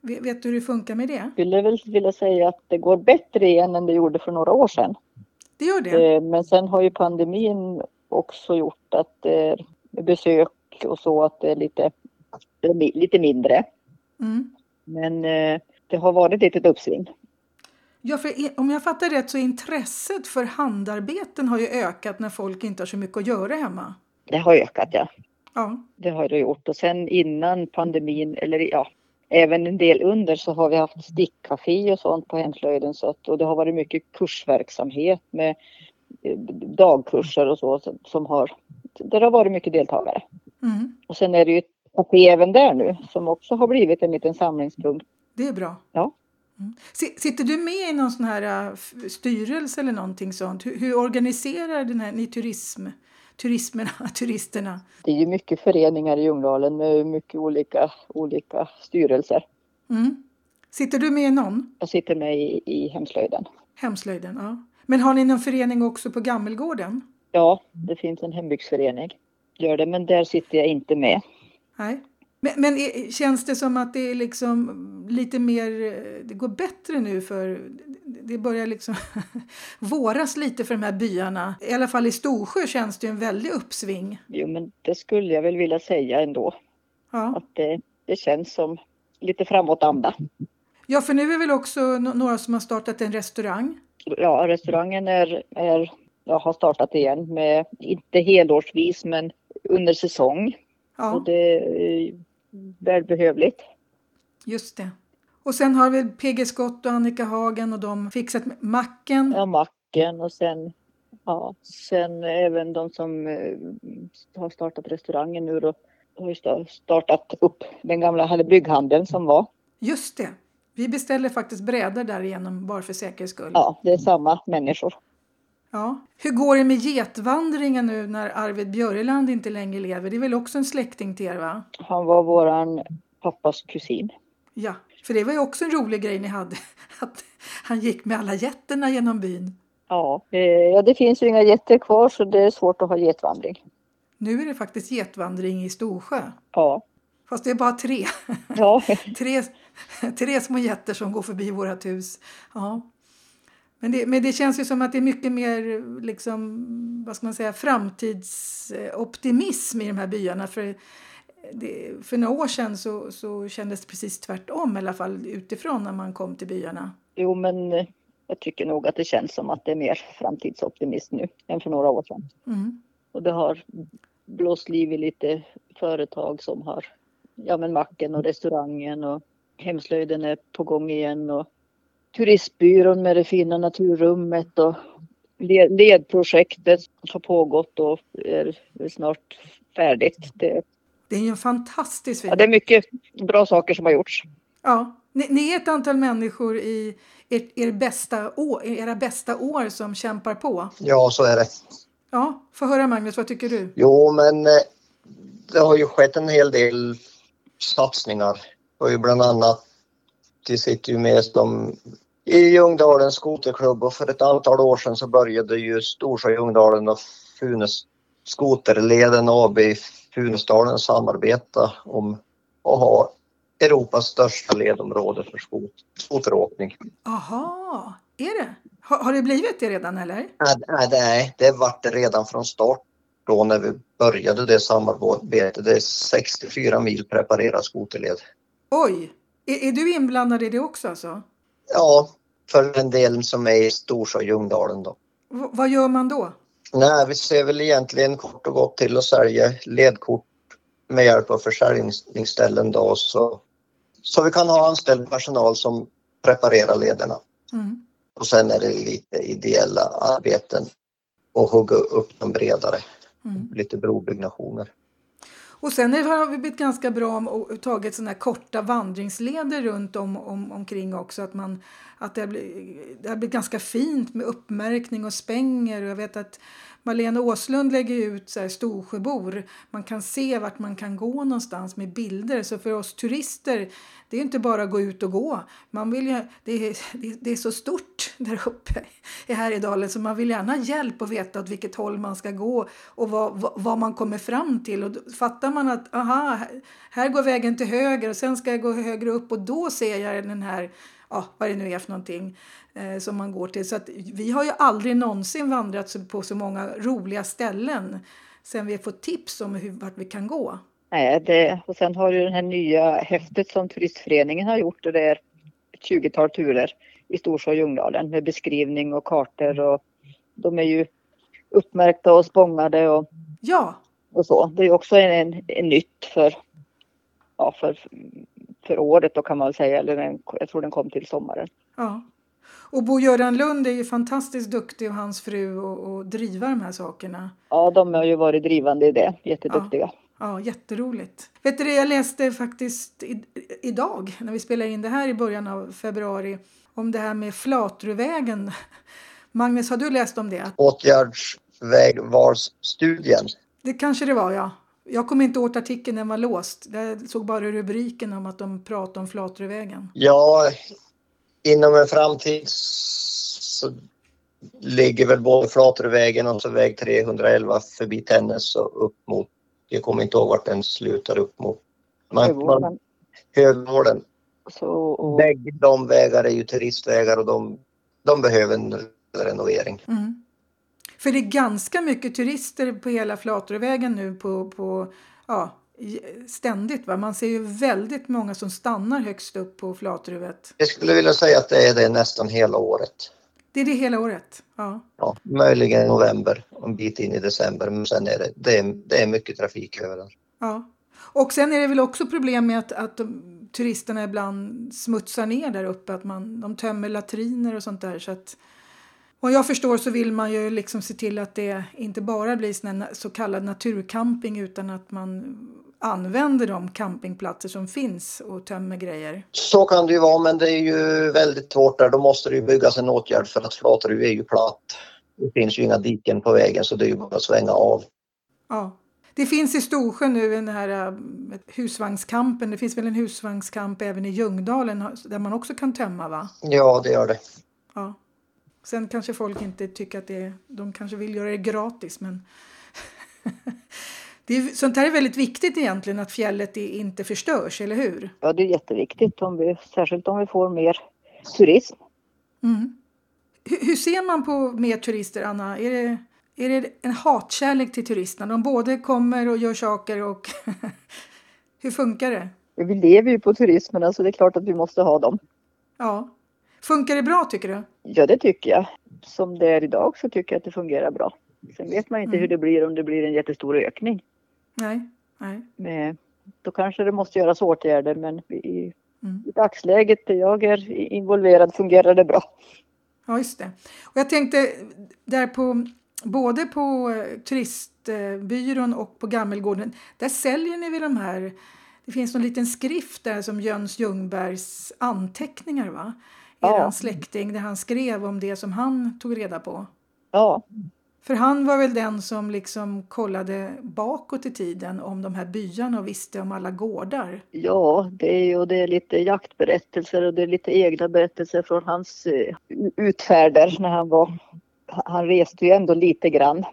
Speaker 1: Vet, vet du hur det funkar med det?
Speaker 3: Jag skulle väl vilja säga att det går bättre igen än det gjorde för några år sedan.
Speaker 1: Det gör det?
Speaker 3: Eh, Men sen har ju pandemin också gjort att eh, besök och så att det är lite, lite mindre.
Speaker 1: Mm.
Speaker 3: Men eh, det har varit ett litet uppsving.
Speaker 1: Ja, för i- om jag fattar rätt så intresset för handarbeten har ju ökat när folk inte har så mycket att göra hemma.
Speaker 3: Det har ökat ja.
Speaker 1: Ja,
Speaker 3: Det har det gjort. Och sen innan pandemin, eller ja, även en del under så har vi haft stickcafé och sånt på hemslöjden. Så att, och det har varit mycket kursverksamhet med eh, dagkurser och så som- som har, där har varit mycket deltagare.
Speaker 1: mm.
Speaker 3: Och sen är det ju ett café även där nu som också har blivit en liten samlingspunkt.
Speaker 1: det är bra.
Speaker 3: Ja.
Speaker 1: Mm. Si- Sitter du med i någon sån här äh, f- styrelse eller någonting sånt? Hur, hur organiserar den här, ni turism, turismerna, turisterna?
Speaker 3: Det är ju mycket föreningar i Ljungdalen med mycket olika, olika styrelser.
Speaker 1: Mm. Sitter du med i någon?
Speaker 3: Jag sitter med i, i hemslöjden.
Speaker 1: Hemslöjden, ja. Men har ni någon förening också på Gammelgården?
Speaker 3: Ja, det finns en hembygdsförening. Gör det, men där sitter jag inte med.
Speaker 1: Nej. Men, men är, känns det som att det är liksom lite mer, eh, det går bättre nu för det börjar liksom våras lite för de här byarna. I alla fall i Storsjö känns det ju en väldig uppsving.
Speaker 3: Jo, men det skulle jag väl vilja säga ändå.
Speaker 1: Ja.
Speaker 3: Att det, det känns som lite framåtanda.
Speaker 1: ja, för nu är väl också no- några som har startat en restaurang.
Speaker 3: Ja, restaurangen är, är, jag har startat igen med, inte helårsvis, men under säsong. Och
Speaker 1: Ja,
Speaker 3: det är välbehövligt.
Speaker 1: just det. Och sen har väl PG Scott och Annika Hagen och de fixat med- macken.
Speaker 3: Ja, macken och sen, ja, sen även de som eh, har startat restaurangen nu då har ju sta- startat upp den gamla hade bygghandeln som var.
Speaker 1: Just det. Vi beställer faktiskt brädor därigenom bara för säkerhets skull.
Speaker 3: Ja, det är samma människor.
Speaker 1: Ja. Hur går det med getvandringen nu när Arvid Björland inte längre lever? Det är väl också en släkting till er va?
Speaker 3: Han var våran pappas kusin.
Speaker 1: Ja, för det var ju också en rolig grej ni hade. Att han gick med alla getterna genom byn.
Speaker 3: Ja, eh, ja det finns ju inga getter kvar så det är svårt att ha getvandring.
Speaker 1: Nu är det faktiskt getvandring i Storsjö.
Speaker 3: Ja,
Speaker 1: Fast det är bara tre.
Speaker 3: ja.
Speaker 1: Tre, tre små getter som går förbi vårt hus. Ja. Men det, men det känns ju som att det är mycket mer liksom, vad ska man säga, framtidsoptimism i de här byarna. För, det, för några år sedan så, så kändes det precis tvärtom, i alla fall utifrån när man kom till byarna.
Speaker 3: jo men eh, jag tycker nog att det känns som att det är mer framtidsoptimism nu än för några år sedan.
Speaker 1: Mm.
Speaker 3: Och det har blåst liv i lite företag som har, ja men macken och restaurangen och hemslöjden är på gång igen och turistbyrån med det fina naturrummet och led- ledprojektet som har pågått och är snart färdigt. Det,
Speaker 1: Det är ju en fantastisk
Speaker 3: ja, det är mycket bra saker som har gjorts.
Speaker 1: Ja, ni, ni är ett antal människor i er, er bästa år, era bästa år som kämpar på.
Speaker 2: Ja, så är det.
Speaker 1: Ja, få höra Magnus, vad tycker du?
Speaker 2: Jo, men eh, det har ju skett en hel del satsningar. Och ju bland annat, det sitter ju med som i Ljungdalens skoterklubb och för ett antal år sedan så började ju Storsjö Ljungdalen och Funes skoterleden AB i Funäsdalen samarbeta om att ha Europas största ledområde för skot- skoteråkning.
Speaker 1: Aha, är det? Har, har det blivit det redan eller?
Speaker 2: Nej, nej, Nej, det vart det redan från start då när vi började det samarbetet. Det är 64 mil preparerad skoterled.
Speaker 1: Oj, är, är du inblandad i det också alltså?
Speaker 2: Ja, för den delen som är i Storsjö och Ljungdalen då.
Speaker 1: V, vad gör man då?
Speaker 2: Nej, vi ser väl egentligen kort och gott till att sälja ledkort med hjälp av försäljningsställen då så, så vi kan ha anställd personal som preparerar lederna.
Speaker 1: Mm.
Speaker 2: Och sen är det lite ideella arbeten och hugga upp de bredare,
Speaker 1: Mm.
Speaker 2: lite brobyggnationer.
Speaker 1: Och sen är- har vi blivit ganska bra om och tagit sådana här korta vandringsleder runt om, om, omkring också. Att, man, att det, har blivit, det har blivit ganska fint med uppmärkning och spänger. Och jag vet att Malena Åslund lägger ut så här Storsjöbor. Man kan se vart man kan gå någonstans med bilder. Så för oss turister, det är inte bara att gå ut och gå. Man vill ju, det, är, det, det är så stort där uppe i Härjedalen så man vill gärna ha hjälp och veta åt vilket håll man ska gå och vad, vad, vad man kommer fram till. Och då fattar man att aha, här- här går vägen till höger och sen ska jag gå högre upp och då ser jag den här ja, vad det nu är för någonting eh, som man går till. Så att vi har ju aldrig någonsin vandrat så- på så många roliga ställen sen vi har fått tips om hur, vart vi kan gå.
Speaker 3: Nej, det, och sen har du det här nya häftet som turistföreningen har gjort och det är ett 20-tal turer i Storsjö och Ljungdalen med beskrivning och kartor och de är ju uppmärkta och spångade och,
Speaker 1: Ja,
Speaker 3: och så. Det är ju också en, en, en nytt för, ja, för, för året då kan man väl säga, eller den, jag tror den kom till sommaren.
Speaker 1: ja. Och Bo-Göran Lund är ju fantastiskt duktig och hans fru och, och driva de här sakerna.
Speaker 3: Ja, de har ju varit drivande i det, jätteduktiga.
Speaker 1: Ja, jätteroligt. Vet du det, jag läste faktiskt i, idag, när vi spelar in det här i början av februari, om det här med Flatruvägen. Magnus, har du läst om det?
Speaker 2: Åtgärdsvägvalsstudien.
Speaker 1: Det kanske det var, ja. Jag kom inte åt artikeln, den var låst. Jag såg bara rubriken om att de pratade om Flatruvägen.
Speaker 2: Ja, inom en framtid så ligger väl både Flatruvägen och så väg 311 förbi Tännäs och upp mot, jag kommer inte ihåg vart den slutar upp mot,
Speaker 3: Ja,
Speaker 2: man, man, Högvården.
Speaker 3: så, och,
Speaker 2: Bägge de vägar är ju turistvägar och de, de behöver en renovering.
Speaker 1: Mm. För det är ganska mycket turister på hela Flatruvägen nu på, på ja, i- ständigt. Va? Man ser ju väldigt många som stannar högst upp på Flatruvet.
Speaker 2: Jag skulle vilja säga att det är det nästan hela året.
Speaker 1: Det är det hela året. Ja.
Speaker 2: Ja, möjligen november och en bit in i december, men sen är det, det, är, det är mycket trafik överallt.
Speaker 1: Ja. Och sen är det väl också problem med att, att de, turisterna ibland smutsar ner där uppe. Att man, de tömmer latriner och sånt där. Så att, vad jag förstår så vill man ju liksom se till att det inte bara blir sån här na- så kallad naturcamping utan att man använder de campingplatser som finns och tömmer grejer.
Speaker 2: Så kan det ju vara, men det är ju väldigt svårt där. Då måste det ju byggas en åtgärd för att Flatruv är ju platt. Det finns ju inga diken på vägen så det är ju bara att svänga av.
Speaker 1: Ja. Det finns i Storsjö nu den här äh, husvagnskampen. Det finns väl en husvagnskamp även i Ljungdalen ha- där man också kan tömma va?
Speaker 2: Ja, det gör det.
Speaker 1: Ja. Sen kanske folk inte tycker att det är, de kanske vill göra det gratis men det är, sånt här är väldigt viktigt egentligen att fjället i- inte förstörs, eller hur?
Speaker 3: ja, det är jätteviktigt, om vi, särskilt om vi får mer turism.
Speaker 1: Mm. Hur, hur ser man på mer turister, Anna? Är det, är det en hatkärlek till turisterna? De både kommer och gör saker och hur funkar det?
Speaker 3: Vi lever ju på turismen, alltså det är klart att vi måste ha dem.
Speaker 1: Ja. Funkar det bra tycker du?
Speaker 3: Ja, det tycker jag. Som det är idag så tycker jag att det fungerar bra. Sen vet man inte
Speaker 1: Mm.
Speaker 3: hur det blir om det blir en jättestor ökning.
Speaker 1: Nej. Nej.
Speaker 3: Men då kanske det måste göras åtgärder, men i,
Speaker 1: Mm.
Speaker 3: i dagsläget där jag är i- involverad fungerar det bra.
Speaker 1: Ja, just det. Och jag tänkte där på både på eh, turistbyrån och på Gammelgården, där säljer ni väl de här det finns någon liten skrift där som Jöns Ljungbergs anteckningar, va?
Speaker 3: Ja.
Speaker 1: Er släkting, där han skrev om det som han tog reda på.
Speaker 3: Ja,
Speaker 1: För han var väl den som liksom kollade bakåt i tiden om de här byarna och visste om alla gårdar.
Speaker 3: ja det, är, ju- och det är lite jaktberättelser och det är lite egna berättelser från hans eh, utfärder när han var... Han reste ju ändå lite grann.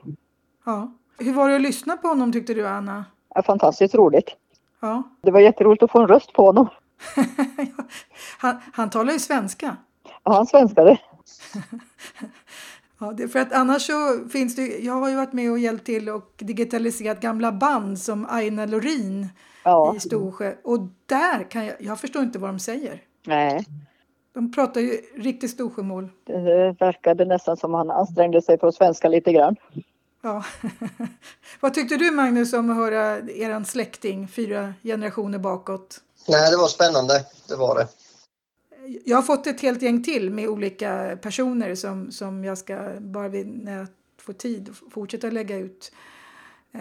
Speaker 1: Ja. Hur var det att lyssna på honom tyckte du, Anna?
Speaker 3: Ja, Fantastiskt roligt.
Speaker 1: Ja.
Speaker 3: Det var jätteroligt att få en röst på honom.
Speaker 1: han, han talar ju svenska.
Speaker 3: Ja, han svenskade.
Speaker 1: Ja, det, för att annars så finns det Jag har ju varit med och hjälpt till och digitaliserat gamla band som Aina Lorin
Speaker 3: Ja,
Speaker 1: i Storsjö. Och där kan jag... Jag förstår inte vad de säger.
Speaker 3: nej.
Speaker 1: De pratar ju riktigt Storsjömål.
Speaker 3: Det verkade nästan som han ansträngde sig för att svenska lite grann.
Speaker 1: Ja. vad tyckte du Magnus om att höra eran släkting fyra generationer bakåt?
Speaker 2: Nej, det var spännande. Det var det.
Speaker 1: Jag har fått ett helt gäng till med olika personer som, som jag ska, bara vid, när jag får tid, fortsätta lägga ut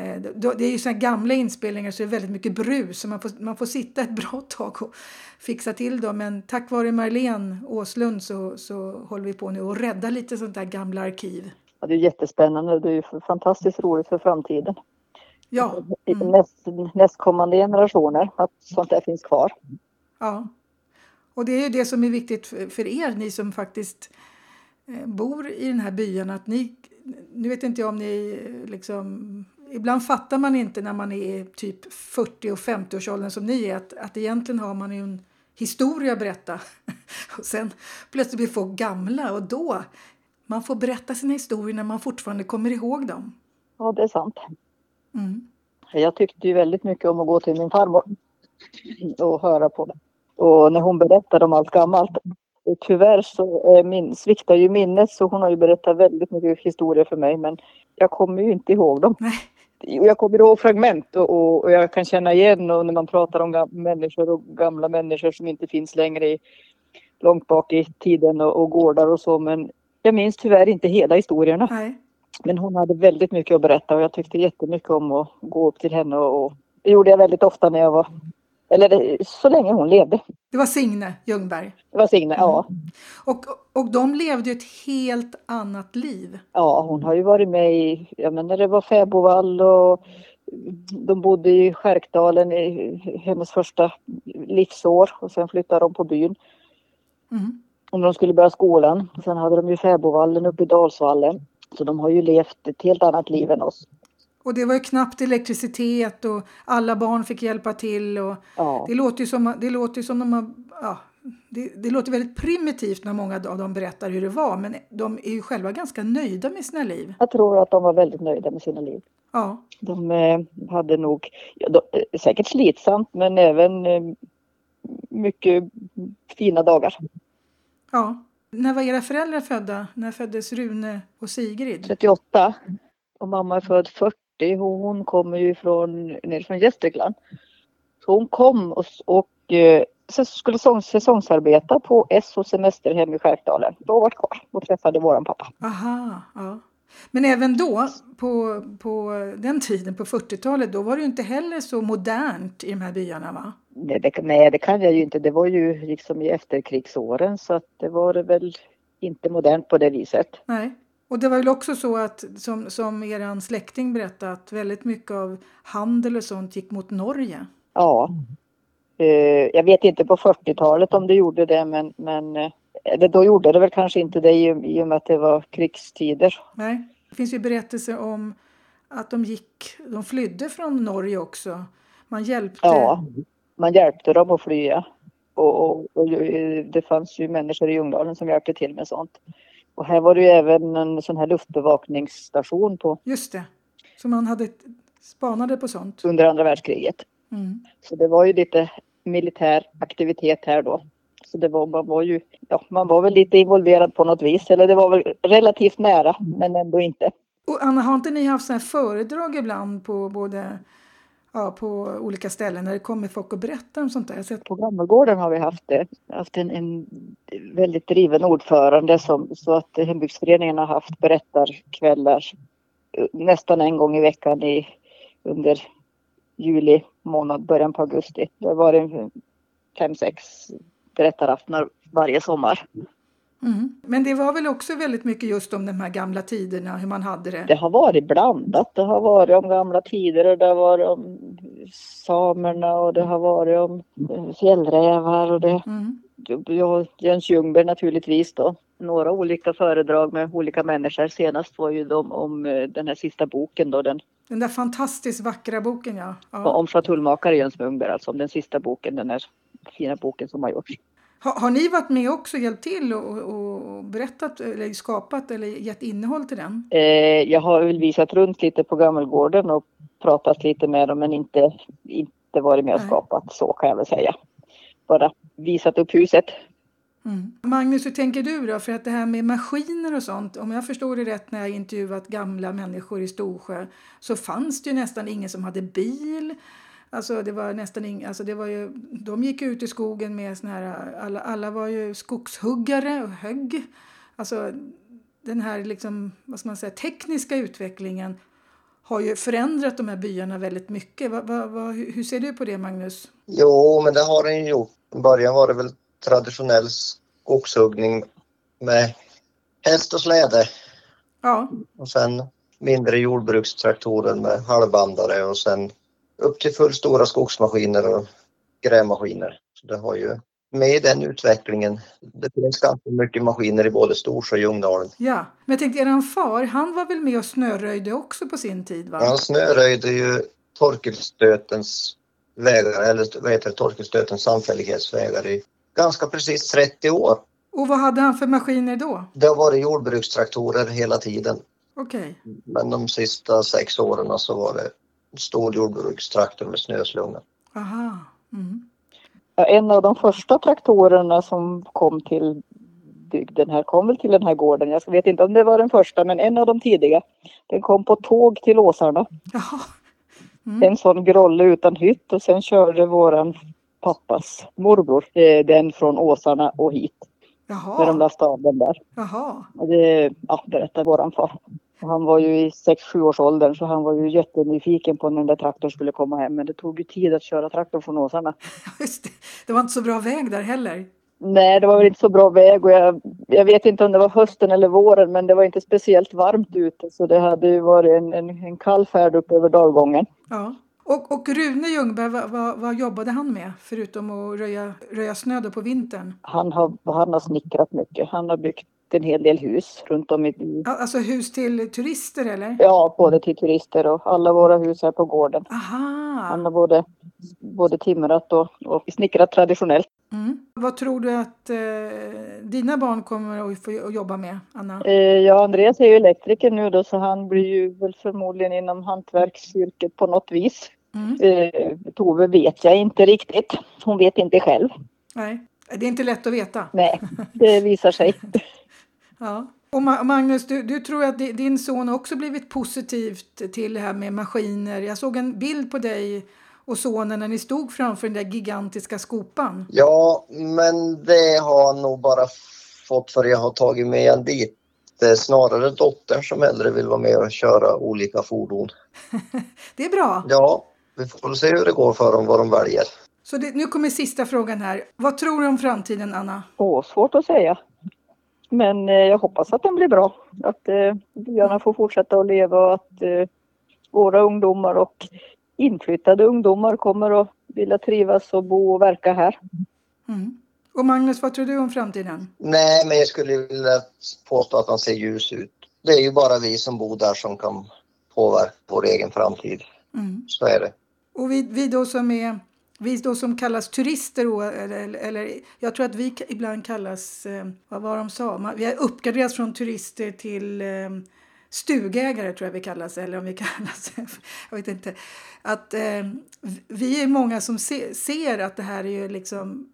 Speaker 1: Eh, Det är ju såna gamla inspelningar så det är väldigt mycket brus så man får, man får sitta ett bra tag och fixa till dem. Men tack vare Marlene Åslund så, så håller vi på nu och räddar lite sånt där gamla arkiv.
Speaker 3: Ja, det är jättespännande. Det är fantastiskt roligt för framtiden.
Speaker 1: Ja.
Speaker 3: Mm. Näst, nästkommande generationer, att sånt där finns kvar.
Speaker 1: Ja. Och det är ju det som är viktigt för, för er, ni som faktiskt eh, bor i den här byn, att ni nu vet inte jag om ni liksom... Ibland fattar man inte när man är typ 40 och 50-årsåldern som ni är att, att egentligen har man ju en historia att berätta. Och sen plötsligt blir folk gamla och då... Man får berätta sina historier när man fortfarande kommer ihåg dem.
Speaker 3: Ja, det är sant.
Speaker 1: Mm.
Speaker 3: Jag tyckte ju väldigt mycket om att gå till min farmor och höra på det. Och när hon berättade om allt gammalt tyvärr så min, sviktar ju minnet så hon har ju berättat väldigt mycket historier för mig men jag kommer ju inte ihåg dem.
Speaker 1: Nej.
Speaker 3: Jag kommer ihåg fragment och, och, och jag kan känna igen och när man pratar om gam- människor och gamla människor som inte finns längre i, långt bak i tiden och, och gårdar och så men jag minns tyvärr inte hela historierna.
Speaker 1: Nej.
Speaker 3: Men hon hade väldigt mycket att berätta och jag tyckte jättemycket om att gå upp till henne och, och det gjorde jag väldigt ofta när jag var, eller så länge hon levde.
Speaker 1: Det var Signe Ljungberg.
Speaker 3: Det var Signe, ja.
Speaker 1: Och, och de levde ju ett helt annat liv.
Speaker 3: Ja, hon har ju varit med i, jag menar det var Fäbodvall och de bodde i Skärkdalen i hennes första livsår och sen flyttade de på byn.
Speaker 1: Mm.
Speaker 3: Och när de skulle börja skolan, och sen hade de ju Fäbodvallen uppe i Dalsvallen. Så de har ju levt ett helt annat liv än oss.
Speaker 1: Och det var ju knappt elektricitet och alla barn fick hjälpa till. Och
Speaker 3: Ja,
Speaker 1: det låter ju som, det låter ju som de har, ja, det, det låter väldigt primitivt när många av dem berättar hur det var men de är ju själva ganska nöjda med sina liv.
Speaker 3: jag tror att de var väldigt nöjda med sina liv.
Speaker 1: Ja,
Speaker 3: De eh, hade nog, ja, de, eh, säkert slitsamt men även eh, mycket fina dagar.
Speaker 1: ja. När var era föräldrar födda? När föddes Rune och Sigrid?
Speaker 3: 38 och mamma är född 40 och hon kommer ju från, ner från Gästrikland. Så hon kom och, och eh, så skulle säsong, säsongsarbeta på SO Semesterhem i Skärkdalen. Då var kvar och träffade våran pappa.
Speaker 1: Aha, ja. Men även då, på, på den tiden, på 40-talet, då var det ju inte heller så modernt i de här byarna va?
Speaker 3: Nej det, nej, det kan jag ju inte. Det var ju liksom i efterkrigsåren så att det var det väl inte modernt på det viset.
Speaker 1: Nej. Och det var väl också så att, som, som er släkting berättade, att väldigt mycket av handel och sånt gick mot Norge.
Speaker 3: Ja. Eh, jag vet inte på 40-talet om det gjorde det men, men eh, eller då gjorde det väl kanske inte det i, i och med att det var krigstider.
Speaker 1: Nej. Det finns ju berättelser om att de gick, de flydde från Norge också. Man hjälpte.
Speaker 3: Ja, man hjälpte dem att flya. Och, och, och ju- det fanns ju människor i Ljungdalen som hjälpte till med sånt. Och här var det ju även en sån här luftbevakningsstation på,
Speaker 1: Just det. Så man hade spanade på sånt.
Speaker 3: under andra världskriget.
Speaker 1: Mm.
Speaker 3: Så det var ju lite militär aktivitet här då. Så det var, man var ju, ja, man var väl lite involverad på något vis. Eller det var väl relativt nära, men ändå inte.
Speaker 1: Och Anna, har inte ni haft såna här föredrag ibland på både Ja, på olika ställen när det kommer folk och berättar om sånt där. Jag har sett
Speaker 3: På Gammelgården har vi haft det. Haft en, en väldigt driven ordförande som, så att hembygdsföreningen har haft berättarkvällar eh, nästan en gång i veckan i, under juli månad, början på augusti. Det har varit en fem, sex berättaraftnar varje sommar.
Speaker 1: Mm. Men det var väl också väldigt mycket just om de här gamla tiderna, hur man hade det.
Speaker 3: Det har varit blandat. Det har varit om gamla tider och det har varit om samerna och det har varit om eh, fjällrävar och det
Speaker 1: Mm.
Speaker 3: ja, Jens Ljungberg naturligtvis då. Några olika föredrag med olika människor. Senast var ju de om eh, den här sista boken då, den,
Speaker 1: Den där fantastiskt vackra boken, ja. ja.
Speaker 3: om schatulmakare Jens Ljungberg, alltså om den sista boken, den här fina boken som har gjorts.
Speaker 1: Har, har ni varit med också och hjälpt till och, och, och berättat eller skapat eller gett innehåll till den?
Speaker 3: Eh, jag har väl visat runt lite på Gammelgården och pratat lite med dem men inte, inte varit med och
Speaker 1: Nej.
Speaker 3: skapat så kan jag väl säga. Bara visat upp huset.
Speaker 1: Mm. Magnus, hur tänker du då? För att det här med maskiner och sånt, om jag förstår det rätt när jag intervjuat gamla människor i Storsjö så fanns det ju nästan ingen som hade bil. Alltså det var nästan ing, alltså det var ju, de gick ut i skogen med såna här, alla, alla var ju skogshuggare och högg. Alltså den här liksom, vad ska man säga, tekniska utvecklingen har ju förändrat de här byarna väldigt mycket. Va, va, va, hur hur ser du på det Magnus?
Speaker 2: Jo, men det har den ju gjort. I början var det väl traditionell skogshuggning med häst och släde
Speaker 1: Ja,
Speaker 2: och sen mindre jordbrukstraktorer med halvbandare och sen upp till fullstora skogsmaskiner och grävmaskiner. Så det har ju med i den utvecklingen. Det finns ganska mycket maskiner i både Storsjö och Ljungdalen.
Speaker 1: ja. Men jag tänkte, eran far, han var väl med och snöröjde också på sin tid va?
Speaker 2: Han snöröjde ju Torkelstötens vägar, eller vad heter det, Torkelstötens samfällighetsvägar i ganska precis 30 år.
Speaker 1: Och vad hade han för maskiner då?
Speaker 2: Det har varit jordbrukstraktorer hela tiden.
Speaker 1: Okej.
Speaker 2: Men de sista sex åren så var det en stor jordbrukstraktor med snöslunga.
Speaker 1: Aha. Mm.
Speaker 3: Ja, en av de första traktorerna som kom till bygden här kom väl till den här gården. Jag vet inte om det var den första men en av de tidiga. Den kom på tåg till Åsarna.
Speaker 1: Jaha.
Speaker 3: Mm.
Speaker 1: Mm.
Speaker 3: en sån grolle utan hytt och sen körde våran pappas morbror eh, den från Åsarna och hit när de
Speaker 1: Jaha.
Speaker 3: lastade av den där.
Speaker 1: Jaha.
Speaker 3: Och det ja, berättade våran far. Och han var ju i 6-7 års åldern så han var ju jättenyfiken på när den där traktorn skulle komma hem men det tog ju tid att köra traktorn från Åsarna.
Speaker 1: Just det. det var inte så bra väg där heller.
Speaker 3: Nej det var väl inte så bra väg och jag, jag vet inte om det var hösten eller våren men det var inte speciellt varmt ute så det hade ju varit en, en, en kall färd upp över dalgången.
Speaker 1: Ja. Och, och Rune Ljungberg, vad, vad, vad jobbade han med förutom att röja, röja snö då på vintern?
Speaker 3: Han har, han har snickrat mycket. Han har byggt en hel del hus runt om i byn.
Speaker 1: Ja, Alltså hus till turister eller?
Speaker 3: Ja, både till turister och alla våra hus här på gården. Han
Speaker 1: Aha!
Speaker 3: har både, både timrat och, och snickrat traditionellt.
Speaker 1: Mm. Vad tror du att eh, dina barn kommer att få jo- att jobba med, Anna?
Speaker 3: Eh, ja, Andreas är ju elektriker nu då så han blir ju väl förmodligen inom hantverksyrket på något vis.
Speaker 1: Mm.
Speaker 3: Eh, Tove vet jag inte riktigt. Hon vet inte själv.
Speaker 1: Nej, det är inte lätt att veta.
Speaker 3: Nej, det visar sig.
Speaker 1: Ja. Och Ma- Magnus, du, du tror att di- din son har också blivit positivt till det här med maskiner. Jag såg en bild på dig och sonen när ni stod framför den där gigantiska skopan.
Speaker 2: Ja, men det har han nog bara fått för jag har tagit med en dit. Det är snarare dottern som hellre vill vara med och köra olika fordon.
Speaker 1: Det är bra.
Speaker 2: Ja, vi får väl se hur det går för dem, vad de väljer.
Speaker 1: Så det, nu kommer sista frågan här. Vad tror du om framtiden, Anna?
Speaker 3: Åh, svårt att säga. Men eh, jag hoppas att den blir bra. Att eh, byarna får fortsätta att leva och att eh, våra ungdomar och inflyttade ungdomar kommer att vilja trivas och bo och verka här.
Speaker 1: Mm. Och Magnus, vad tror du om framtiden?
Speaker 2: Nej, men jag skulle vilja påstå att han ser ljus ut. Det är ju bara vi som bor där som kan påverka vår egen framtid.
Speaker 1: Mm.
Speaker 2: Så är det.
Speaker 1: Och vi, vi, då som är, vi då som kallas turister, och- eller, eller, eller jag tror att vi ka- ibland kallas, eh, vad var de sa, Man, vi har uppgraderats från turister till eh, stugägare tror jag vi kallas, eller om vi kallas, jag vet inte. Att eh, vi- vi är många som se, ser att det här är ju liksom,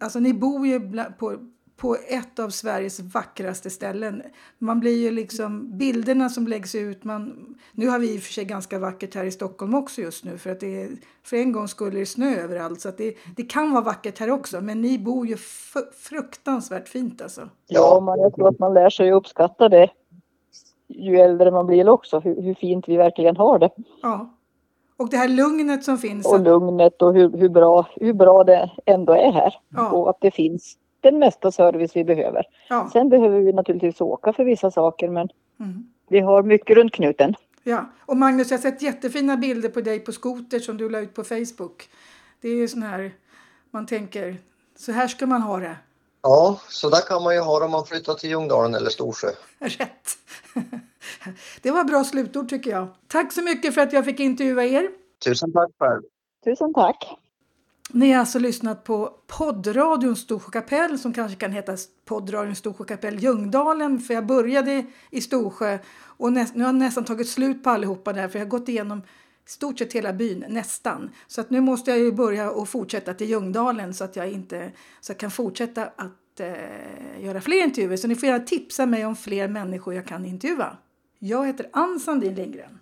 Speaker 1: alltså ni bor ju bla, på på ett av Sveriges vackraste ställen. Man blir ju liksom, bilderna som läggs ut, man, nu har vi i och för sig ganska vackert här i Stockholm också just nu för att det är, för en gång skulle det är snö överallt så att det, det kan vara vackert här också men ni bor ju fu- fruktansvärt fint alltså.
Speaker 3: Ja, man, jag tror att man lär sig att uppskatta det ju äldre man blir också, hur, hur fint vi verkligen har det.
Speaker 1: Ja. Och det här lugnet som finns.
Speaker 3: Och lugnet och hur, hur, bra, hur bra det ändå är här.
Speaker 1: ja,
Speaker 3: Och att det finns den mesta service vi behöver.
Speaker 1: ja,
Speaker 3: Sen behöver vi naturligtvis åka för vissa saker men
Speaker 1: mm,
Speaker 3: Vi har mycket runt knuten.
Speaker 1: ja. Och Magnus, jag har sett jättefina bilder på dig på skoter som du la ut på Facebook. Det är ju sån här, man tänker, så här ska man ha det.
Speaker 2: Ja, så där kan man ju ha det om man flyttar till Ljungdalen eller Storsjö.
Speaker 1: Rätt. Det var bra slutord tycker jag. Tack så mycket för att jag fick intervjua er.
Speaker 2: Tusen tack själv.
Speaker 3: Tusen tack.
Speaker 1: Ni har alltså lyssnat på poddradion Storsjö kapell som kanske kan heta poddradion Storsjö kapell Ljungdalen för jag började i Storsjö och nä- nu har jag nästan tagit slut på allihopa där för jag har gått igenom i stort sett hela byn, nästan. Så att nu måste jag ju börja och fortsätta till Ljungdalen så att jag, inte, så jag kan fortsätta att eh, göra fler intervjuer. Så ni får gärna tipsa mig om fler människor jag kan intervjua. Jag heter Ann Sandin Lindgren.